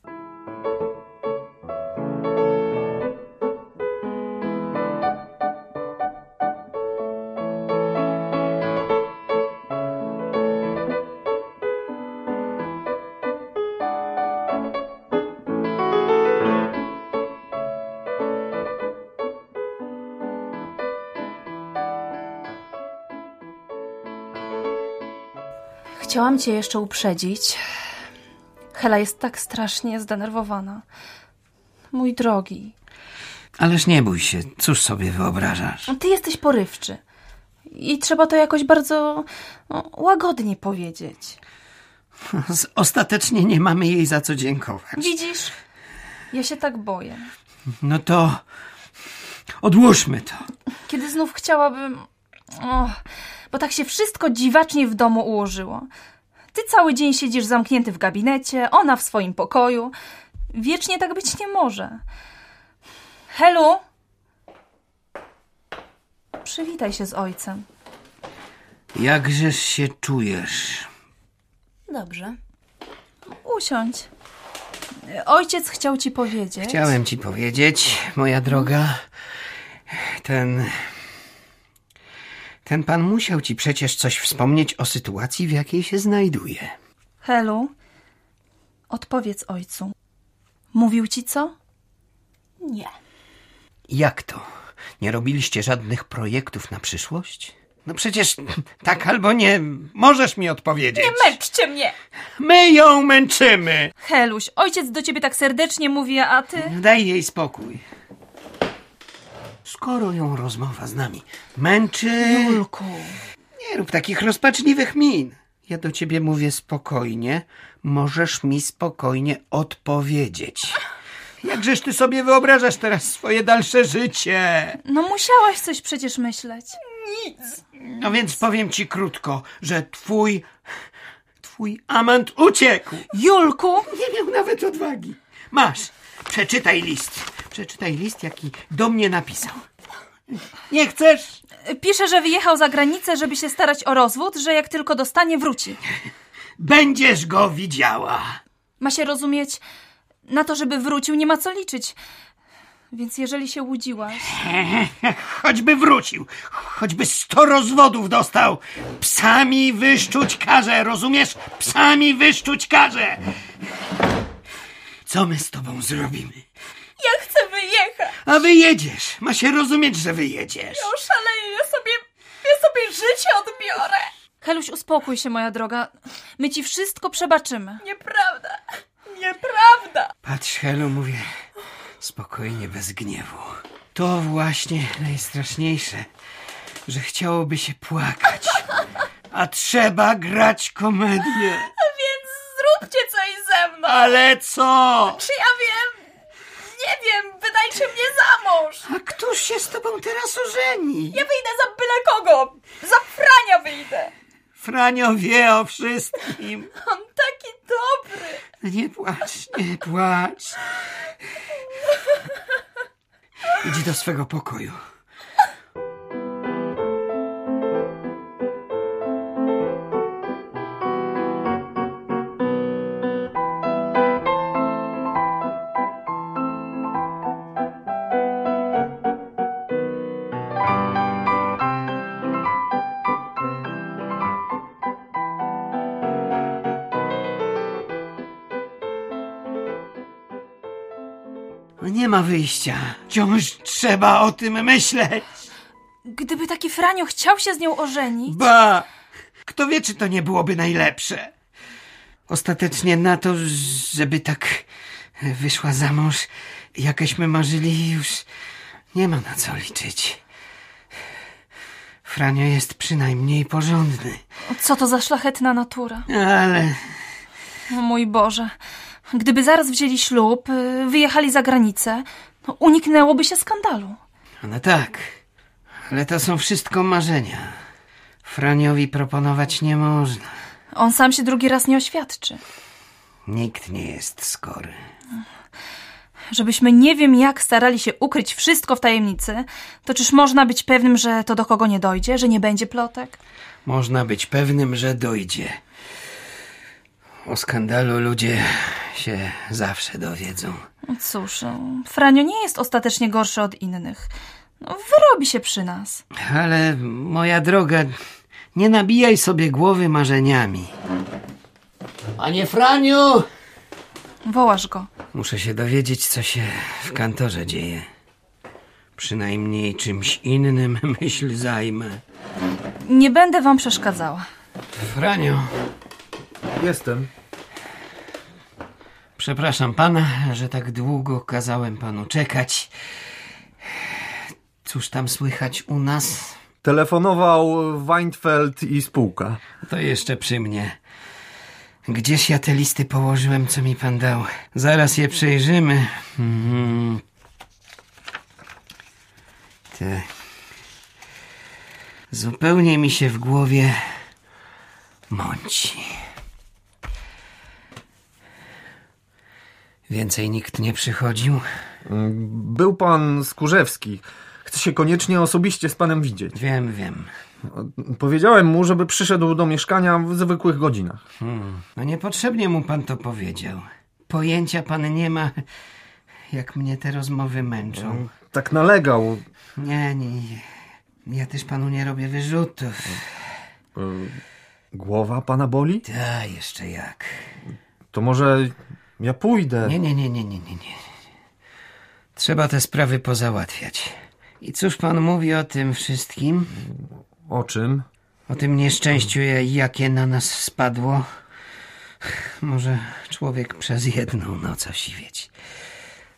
S7: chciałam cię jeszcze uprzedzić. Hela jest tak strasznie zdenerwowana. Mój drogi,
S8: Ależ nie bój się, cóż sobie wyobrażasz?
S7: ty jesteś porywczy. I trzeba to jakoś bardzo no, łagodnie powiedzieć.
S8: Z- Ostatecznie nie mamy jej za co dziękować.
S7: Widzisz? Ja się tak boję.
S8: No to odłóżmy to.
S7: Kiedy znów chciałabym. O, bo tak się wszystko dziwacznie w domu ułożyło. Ty cały dzień siedzisz zamknięty w gabinecie, ona w swoim pokoju. Wiecznie tak być nie może. Helu? Przywitaj się z ojcem.
S8: Jakżeż się czujesz?
S6: Dobrze.
S7: Usiądź. Ojciec chciał ci powiedzieć.
S8: Chciałem ci powiedzieć, moja droga, ten. Ten pan musiał ci przecież coś wspomnieć o sytuacji, w jakiej się znajduje.
S7: Helu, odpowiedz ojcu. Mówił ci co?
S6: Nie.
S8: Jak to? Nie robiliście żadnych projektów na przyszłość? No przecież tak albo nie możesz mi odpowiedzieć.
S7: Męczcie mnie!
S8: My ją męczymy.
S7: Heluś, ojciec do ciebie tak serdecznie mówi, a ty...
S8: Daj jej spokój. Skoro ją rozmowa z nami męczy,
S7: Julku.
S8: nie rób takich rozpaczliwych min. Ja do ciebie mówię spokojnie. Możesz mi spokojnie odpowiedzieć. Jakżeś ty sobie wyobrażasz teraz swoje dalsze życie?
S7: No musiałaś coś przecież myśleć.
S8: No więc powiem ci krótko, że twój. Twój amant uciekł.
S7: Julku!
S8: Nie miał nawet odwagi. Masz, przeczytaj list. Przeczytaj list, jaki do mnie napisał. Nie chcesz?
S7: Pisze, że wyjechał za granicę, żeby się starać o rozwód, że jak tylko dostanie, wróci.
S8: Będziesz go widziała.
S7: Ma się rozumieć, na to, żeby wrócił, nie ma co liczyć. Więc jeżeli się łudziłaś...
S8: Choćby wrócił, choćby sto rozwodów dostał. Psami wyszczuć karze, rozumiesz? Psami wyszczuć karze. Co my z tobą zrobimy?
S7: Ja chcę wyjechać!
S8: A wyjedziesz. Ma się rozumieć, że wyjedziesz.
S7: Oszaleję, ja sobie... Ja sobie życie odbiorę! Heluś, uspokój się, moja droga. My ci wszystko przebaczymy. Nieprawda! Nieprawda!
S8: Patrz, Helu, mówię spokojnie, bez gniewu. To właśnie najstraszniejsze, że chciałoby się płakać, a trzeba grać komedię.
S7: Więc zróbcie coś ze mną!
S8: Ale co?
S7: Czy ja wiem? Nie wiem, wydajcie mnie za mąż!
S8: A któż się z tobą teraz ożeni?
S7: Ja wyjdę za byle kogo! Za Frania wyjdę!
S8: Franio wie o wszystkim.
S7: On taki dobry!
S8: Nie płacz, nie płacz. Idź do swego pokoju. Nie ma wyjścia. Wciąż trzeba o tym myśleć.
S7: Gdyby taki Franio chciał się z nią ożenić,
S8: Ba! Kto wie, czy to nie byłoby najlepsze. Ostatecznie na to, żeby tak wyszła za mąż, jakeśmy marzyli, już nie ma na co liczyć. Franio jest przynajmniej porządny,
S7: co to za szlachetna natura?
S8: ale
S7: O mój Boże. Gdyby zaraz wzięli ślub, y, wyjechali za granicę, no, uniknęłoby się skandalu.
S8: No tak, ale to są wszystko marzenia. Franiowi proponować nie można.
S7: On sam się drugi raz nie oświadczy.
S8: Nikt nie jest skory.
S7: Żebyśmy nie wiem jak starali się ukryć wszystko w tajemnicy, to czyż można być pewnym, że to do kogo nie dojdzie, że nie będzie plotek?
S8: Można być pewnym, że dojdzie. O skandalu ludzie się zawsze dowiedzą.
S7: No Cóż, y, Franio nie jest ostatecznie gorszy od innych. No, wyrobi się przy nas.
S8: Ale moja droga, nie nabijaj sobie głowy marzeniami.
S12: Panie Franiu!
S7: Wołasz go.
S8: Muszę się dowiedzieć, co się w kantorze dzieje. Przynajmniej czymś innym myśl zajmę.
S7: Nie będę wam przeszkadzała.
S8: Franio,
S3: Jestem.
S8: przepraszam pana, że tak długo kazałem panu czekać. Cóż tam słychać u nas?
S3: Telefonował Weinfeld i spółka.
S8: To jeszcze przy mnie. Gdzieś ja te listy położyłem, co mi pan dał. Zaraz je przejrzymy. Mhm. Te. Zupełnie mi się w głowie mąci. Więcej nikt nie przychodził.
S3: Był pan Skurzewski. Chce się koniecznie osobiście z panem widzieć.
S8: Wiem, wiem.
S3: Powiedziałem mu, żeby przyszedł do mieszkania w zwykłych godzinach.
S8: Hmm. No niepotrzebnie mu pan to powiedział. Pojęcia pan nie ma, jak mnie te rozmowy męczą.
S3: Tak nalegał.
S8: Nie, nie, nie. Ja też panu nie robię wyrzutów.
S3: Y, Głowa pana boli?
S8: Da, jeszcze jak.
S3: To może ja pójdę.
S8: Nie, nie, nie, nie, nie, nie, nie. Trzeba te sprawy pozałatwiać. I cóż pan mówi o tym wszystkim?
S3: O czym?
S8: O tym nieszczęściu, ja- jakie na nas spadło? Może człowiek przez jedną noc osiwieć.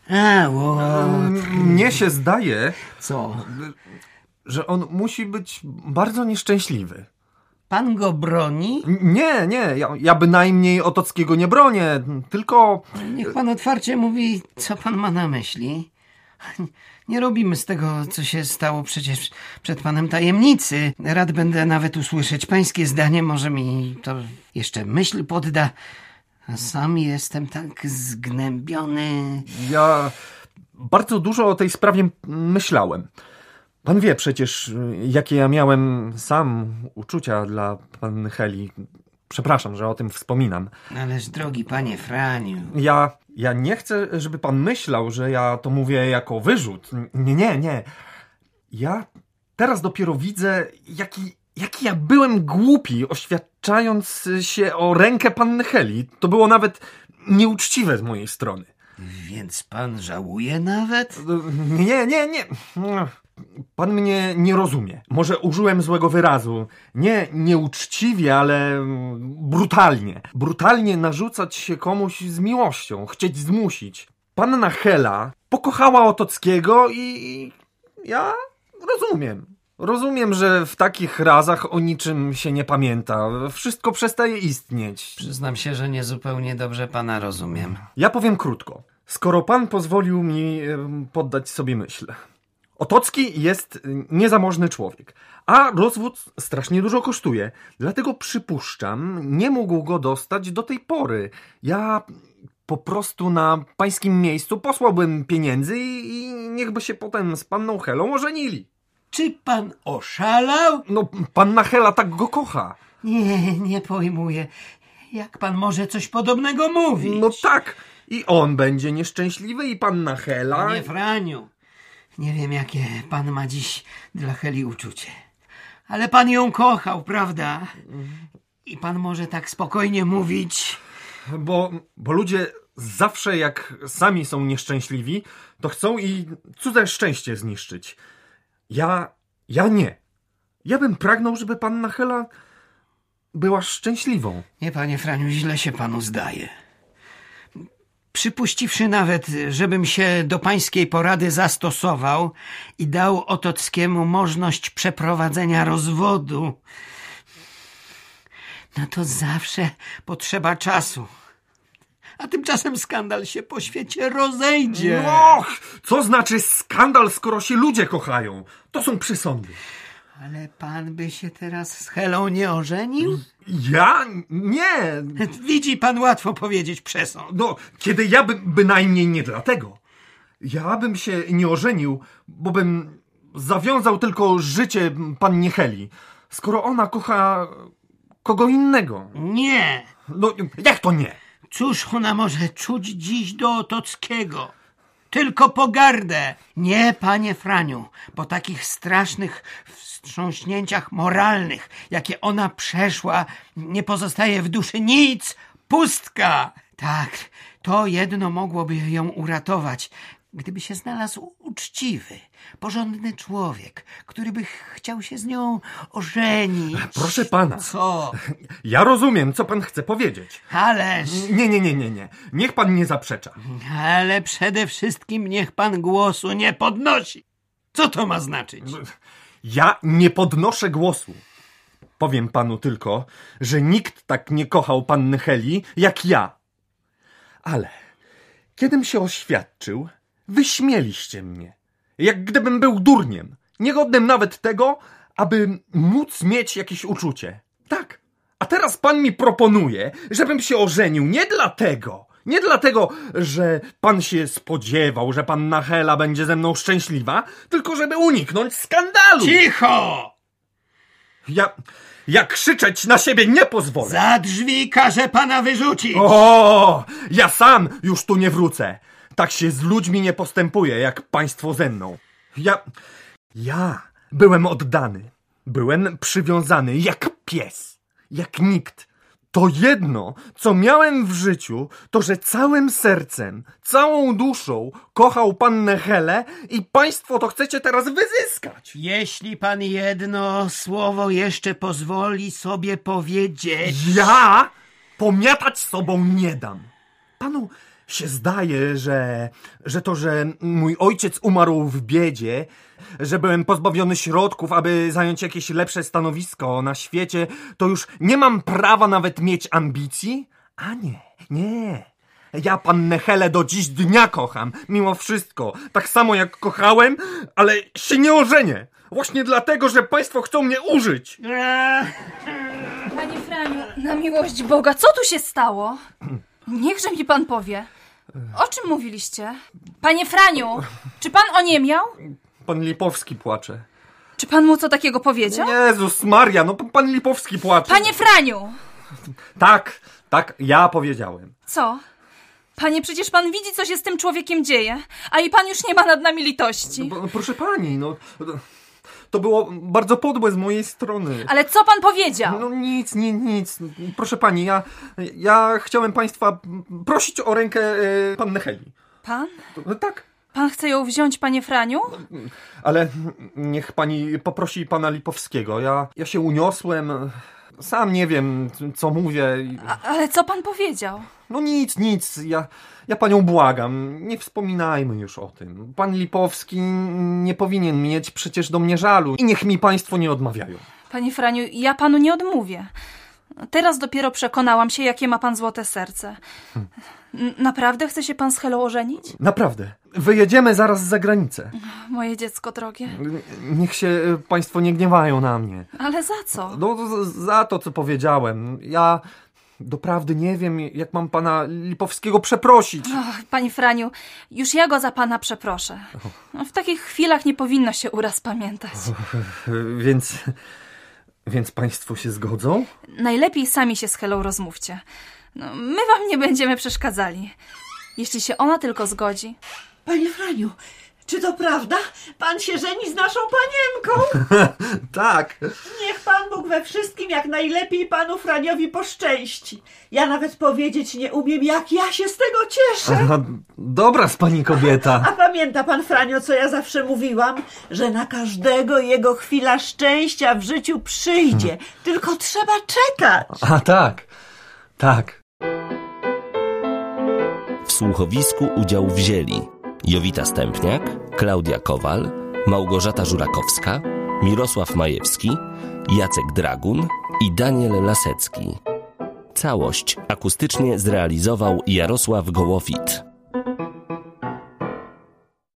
S8: A, ło,
S3: Mm, Mnie się zdaje,
S8: co?
S3: że on musi być bardzo nieszczęśliwy.
S8: Pan go broni?
S3: N- Nie, nie, ja, ja bynajmniej Otockiego nie bronię, tylko
S8: Niech pan otwarcie mówi, co pan ma na myśli. Nie robimy z tego, co się stało przecież przed panem tajemnicy. Rad będę nawet usłyszeć pańskie zdanie, może mi to jeszcze myśl podda. A sam jestem tak zgnębiony.
S3: ja bardzo dużo o tej sprawie myślałem. Pan wie przecież, y, jakie ja miałem sam uczucia dla pan Heli. Przepraszam, że o tym wspominam.
S8: Ależ drogi panie Franiu.
S3: Ja, ja nie chcę, żeby pan myślał, że ja to mówię jako wyrzut. Nie, nie, nie. Ja teraz dopiero widzę, jaki, jaki ja byłem głupi, oświadczając się o rękę panny Heli. To było nawet nieuczciwe z mojej strony.
S8: Więc pan żałuje nawet?
S3: No, Nie, nie, nie. Pan mnie nie rozumie. Może użyłem złego wyrazu. Nie nieuczciwie, ale mm, brutalnie. Brutalnie narzucać się komuś z miłością, chcieć zmusić. Panna Hela pokochała Otockiego i- i ja rozumiem. Rozumiem, że w takich razach o niczym się nie pamięta. Wszystko przestaje istnieć.
S8: Przyznam się, że niezupełnie dobrze pana rozumiem.
S3: Ja powiem krótko. Skoro pan pozwolił mi em, poddać sobie myśl. Otocki jest y, niezamożny człowiek, a rozwód strasznie dużo kosztuje. Dlatego przypuszczam, nie mógł go dostać do tej pory. Ja po prostu na pańskim miejscu posłałbym pieniędzy i, i niechby się potem z panną Helą ożenili.
S8: Czy pan oszalał?
S3: No, panna Hela tak go kocha.
S8: Nie, nie pojmuję. Jak pan może coś podobnego mówić?
S3: No tak. I on będzie nieszczęśliwy i panna Hela.
S8: Panie No Franiu, nie wiem jakie pan ma dziś dla Heli uczucie, ale pan ją kochał, prawda? I pan może tak spokojnie mówić.
S3: Bo, bo ludzie zawsze, jak sami są nieszczęśliwi, to chcą i cudze szczęście zniszczyć. Ja, ja nie. Ja bym pragnął, żeby panna Hela była szczęśliwą.
S8: Nie, panie Franiu, źle się panu zdaje. Przypuściwszy nawet, żebym się do pańskiej porady zastosował i dał Otockiemu możliwość przeprowadzenia rozwodu, no to zawsze potrzeba czasu. A tymczasem skandal się po świecie rozejdzie.
S3: Och, co znaczy skandal, skoro się ludzie kochają? To są przysądy.
S8: Ale pan by się teraz z Helą nie ożenił?
S3: Ja? Nie.
S8: Widzi pan łatwo powiedzieć przesąd.
S3: No, kiedy ja bym, bynajmniej nie dlatego. Ja bym się nie ożenił, bo bym zawiązał tylko życie pannie Heli, skoro ona kocha kogo innego.
S8: Nie.
S3: No, jak to nie?
S8: Cóż ona może czuć dziś do Otockiego? Tylko pogardę. Nie, panie Franiu, po takich strasznych wstrząśnięciach moralnych, jakie ona przeszła, nie pozostaje w duszy nic, pustka. Tak, to jedno mogłoby ją uratować, gdyby się znalazł uczciwy, porządny człowiek, który by chciał się z nią ożenić.
S3: Proszę pana.
S8: Co?
S3: Ja rozumiem, co pan chce powiedzieć.
S8: Ależ...
S3: Nie, nie, nie, nie, nie. Niech pan nie zaprzecza.
S8: Ale przede wszystkim niech pan głosu nie podnosi. Co to ma znaczyć?
S3: Ja nie podnoszę głosu. Powiem panu tylko, że nikt tak nie kochał panny Heli jak ja. Ale kiedym się oświadczył, wyśmieliście mnie. Jak gdybym był durniem, niegodnym nawet tego, aby móc mieć jakieś uczucie. Tak. A teraz pan mi proponuje, żebym się ożenił nie dlatego, nie dlatego, że pan się spodziewał, że panna Hela będzie ze mną szczęśliwa, tylko żeby uniknąć skandalu.
S12: Cicho!
S3: Ja, ja krzyczeć na siebie nie pozwolę.
S12: Za drzwi każe pana wyrzucić!
S3: O, ja sam już tu nie wrócę. Tak się z ludźmi nie postępuje, jak państwo ze mną. Ja, ja byłem oddany. Byłem przywiązany jak pies, jak nikt. To jedno, co miałem w życiu, to że całym sercem, całą duszą kochał pannę Helę i państwo to chcecie teraz wyzyskać.
S12: Jeśli pan jedno słowo jeszcze pozwoli sobie powiedzieć.
S3: Ja pomiatać sobą nie dam. Panu się zdaje, że, że to, że mój ojciec umarł w biedzie, że byłem pozbawiony środków, aby zająć jakieś lepsze stanowisko na świecie, to już nie mam prawa nawet mieć ambicji? A nie, nie. Ja pannę Helę do dziś dnia kocham, mimo wszystko. Tak samo jak kochałem, ale się nie ożenię. Właśnie dlatego, że państwo chcą mnie użyć.
S7: Panie Franiu, na miłość Boga, co tu się stało? Niechże mi pan powie. O czym mówiliście? Panie Franiu, czy pan o nie miał?
S3: Pan Lipowski płacze.
S7: Czy pan mu co takiego powiedział?
S3: Jezus Maria, no pan Lipowski płacze.
S7: Panie Franiu!
S3: Tak, tak, ja powiedziałem.
S7: Co? Panie, przecież pan widzi, co się z tym człowiekiem dzieje, a i pan już nie ma nad nami litości.
S3: Bo- Proszę pani, no... To było bardzo podłe z mojej strony.
S7: Ale co pan powiedział?
S3: No nic, nie, nic. Proszę pani, ja, ja chciałem państwa prosić o rękę e, panny Heli.
S7: Pan?
S3: To- Tak,
S7: Pan chce ją wziąć, panie Franiu?
S3: ale niech pani poprosi pana Lipowskiego. Ja, ja się uniosłem, sam nie wiem, co mówię.
S7: A, ale co pan powiedział?
S3: No nic, nic, ja, ja panią błagam, nie wspominajmy już o tym. Pan Lipowski nie powinien mieć przecież do mnie żalu i niech mi państwo nie odmawiają.
S7: Panie Franiu, ja panu nie odmówię. Teraz dopiero przekonałam się, jakie ma pan złote serce. N- Naprawdę chce się pan z Helą ożenić?
S3: Naprawdę, wyjedziemy zaraz za granicę.
S7: Moje dziecko drogie.
S3: Niech się e, państwo nie gniewają na mnie.
S7: Ale za co?
S3: No z- za to, co powiedziałem. Ja doprawdy nie wiem, jak mam pana Lipowskiego przeprosić.
S7: Och, panie Franiu, już ja go za pana przeproszę. No, W takich chwilach nie powinno się uraz pamiętać.
S3: E, Więc... Więc państwo się zgodzą?
S7: Najlepiej sami się z Helą rozmówcie. No, my wam nie będziemy przeszkadzali. Jeśli się ona tylko zgodzi.
S4: Panie Franiu, czy to prawda? Pan się żeni z naszą panienką?
S3: Tak.
S4: Niech Pan Bóg we wszystkim jak najlepiej Panu Franiowi poszczęści. Ja nawet powiedzieć nie umiem, jak ja się z tego cieszę.
S3: Dobra z pani
S4: A
S3: kobieta.
S4: pamięta Pan Franio, co ja zawsze mówiłam? Że na każdego jego chwila szczęścia w życiu przyjdzie. Tylko trzeba czekać.
S3: A tak, tak.
S1: W słuchowisku udział wzięli Jowita Stępniak, Klaudia Kowal, Małgorzata Żurakowska, Mirosław Majewski, Jacek Dragun i Daniel Lasecki. Całość akustycznie zrealizował Jarosław Gołowit.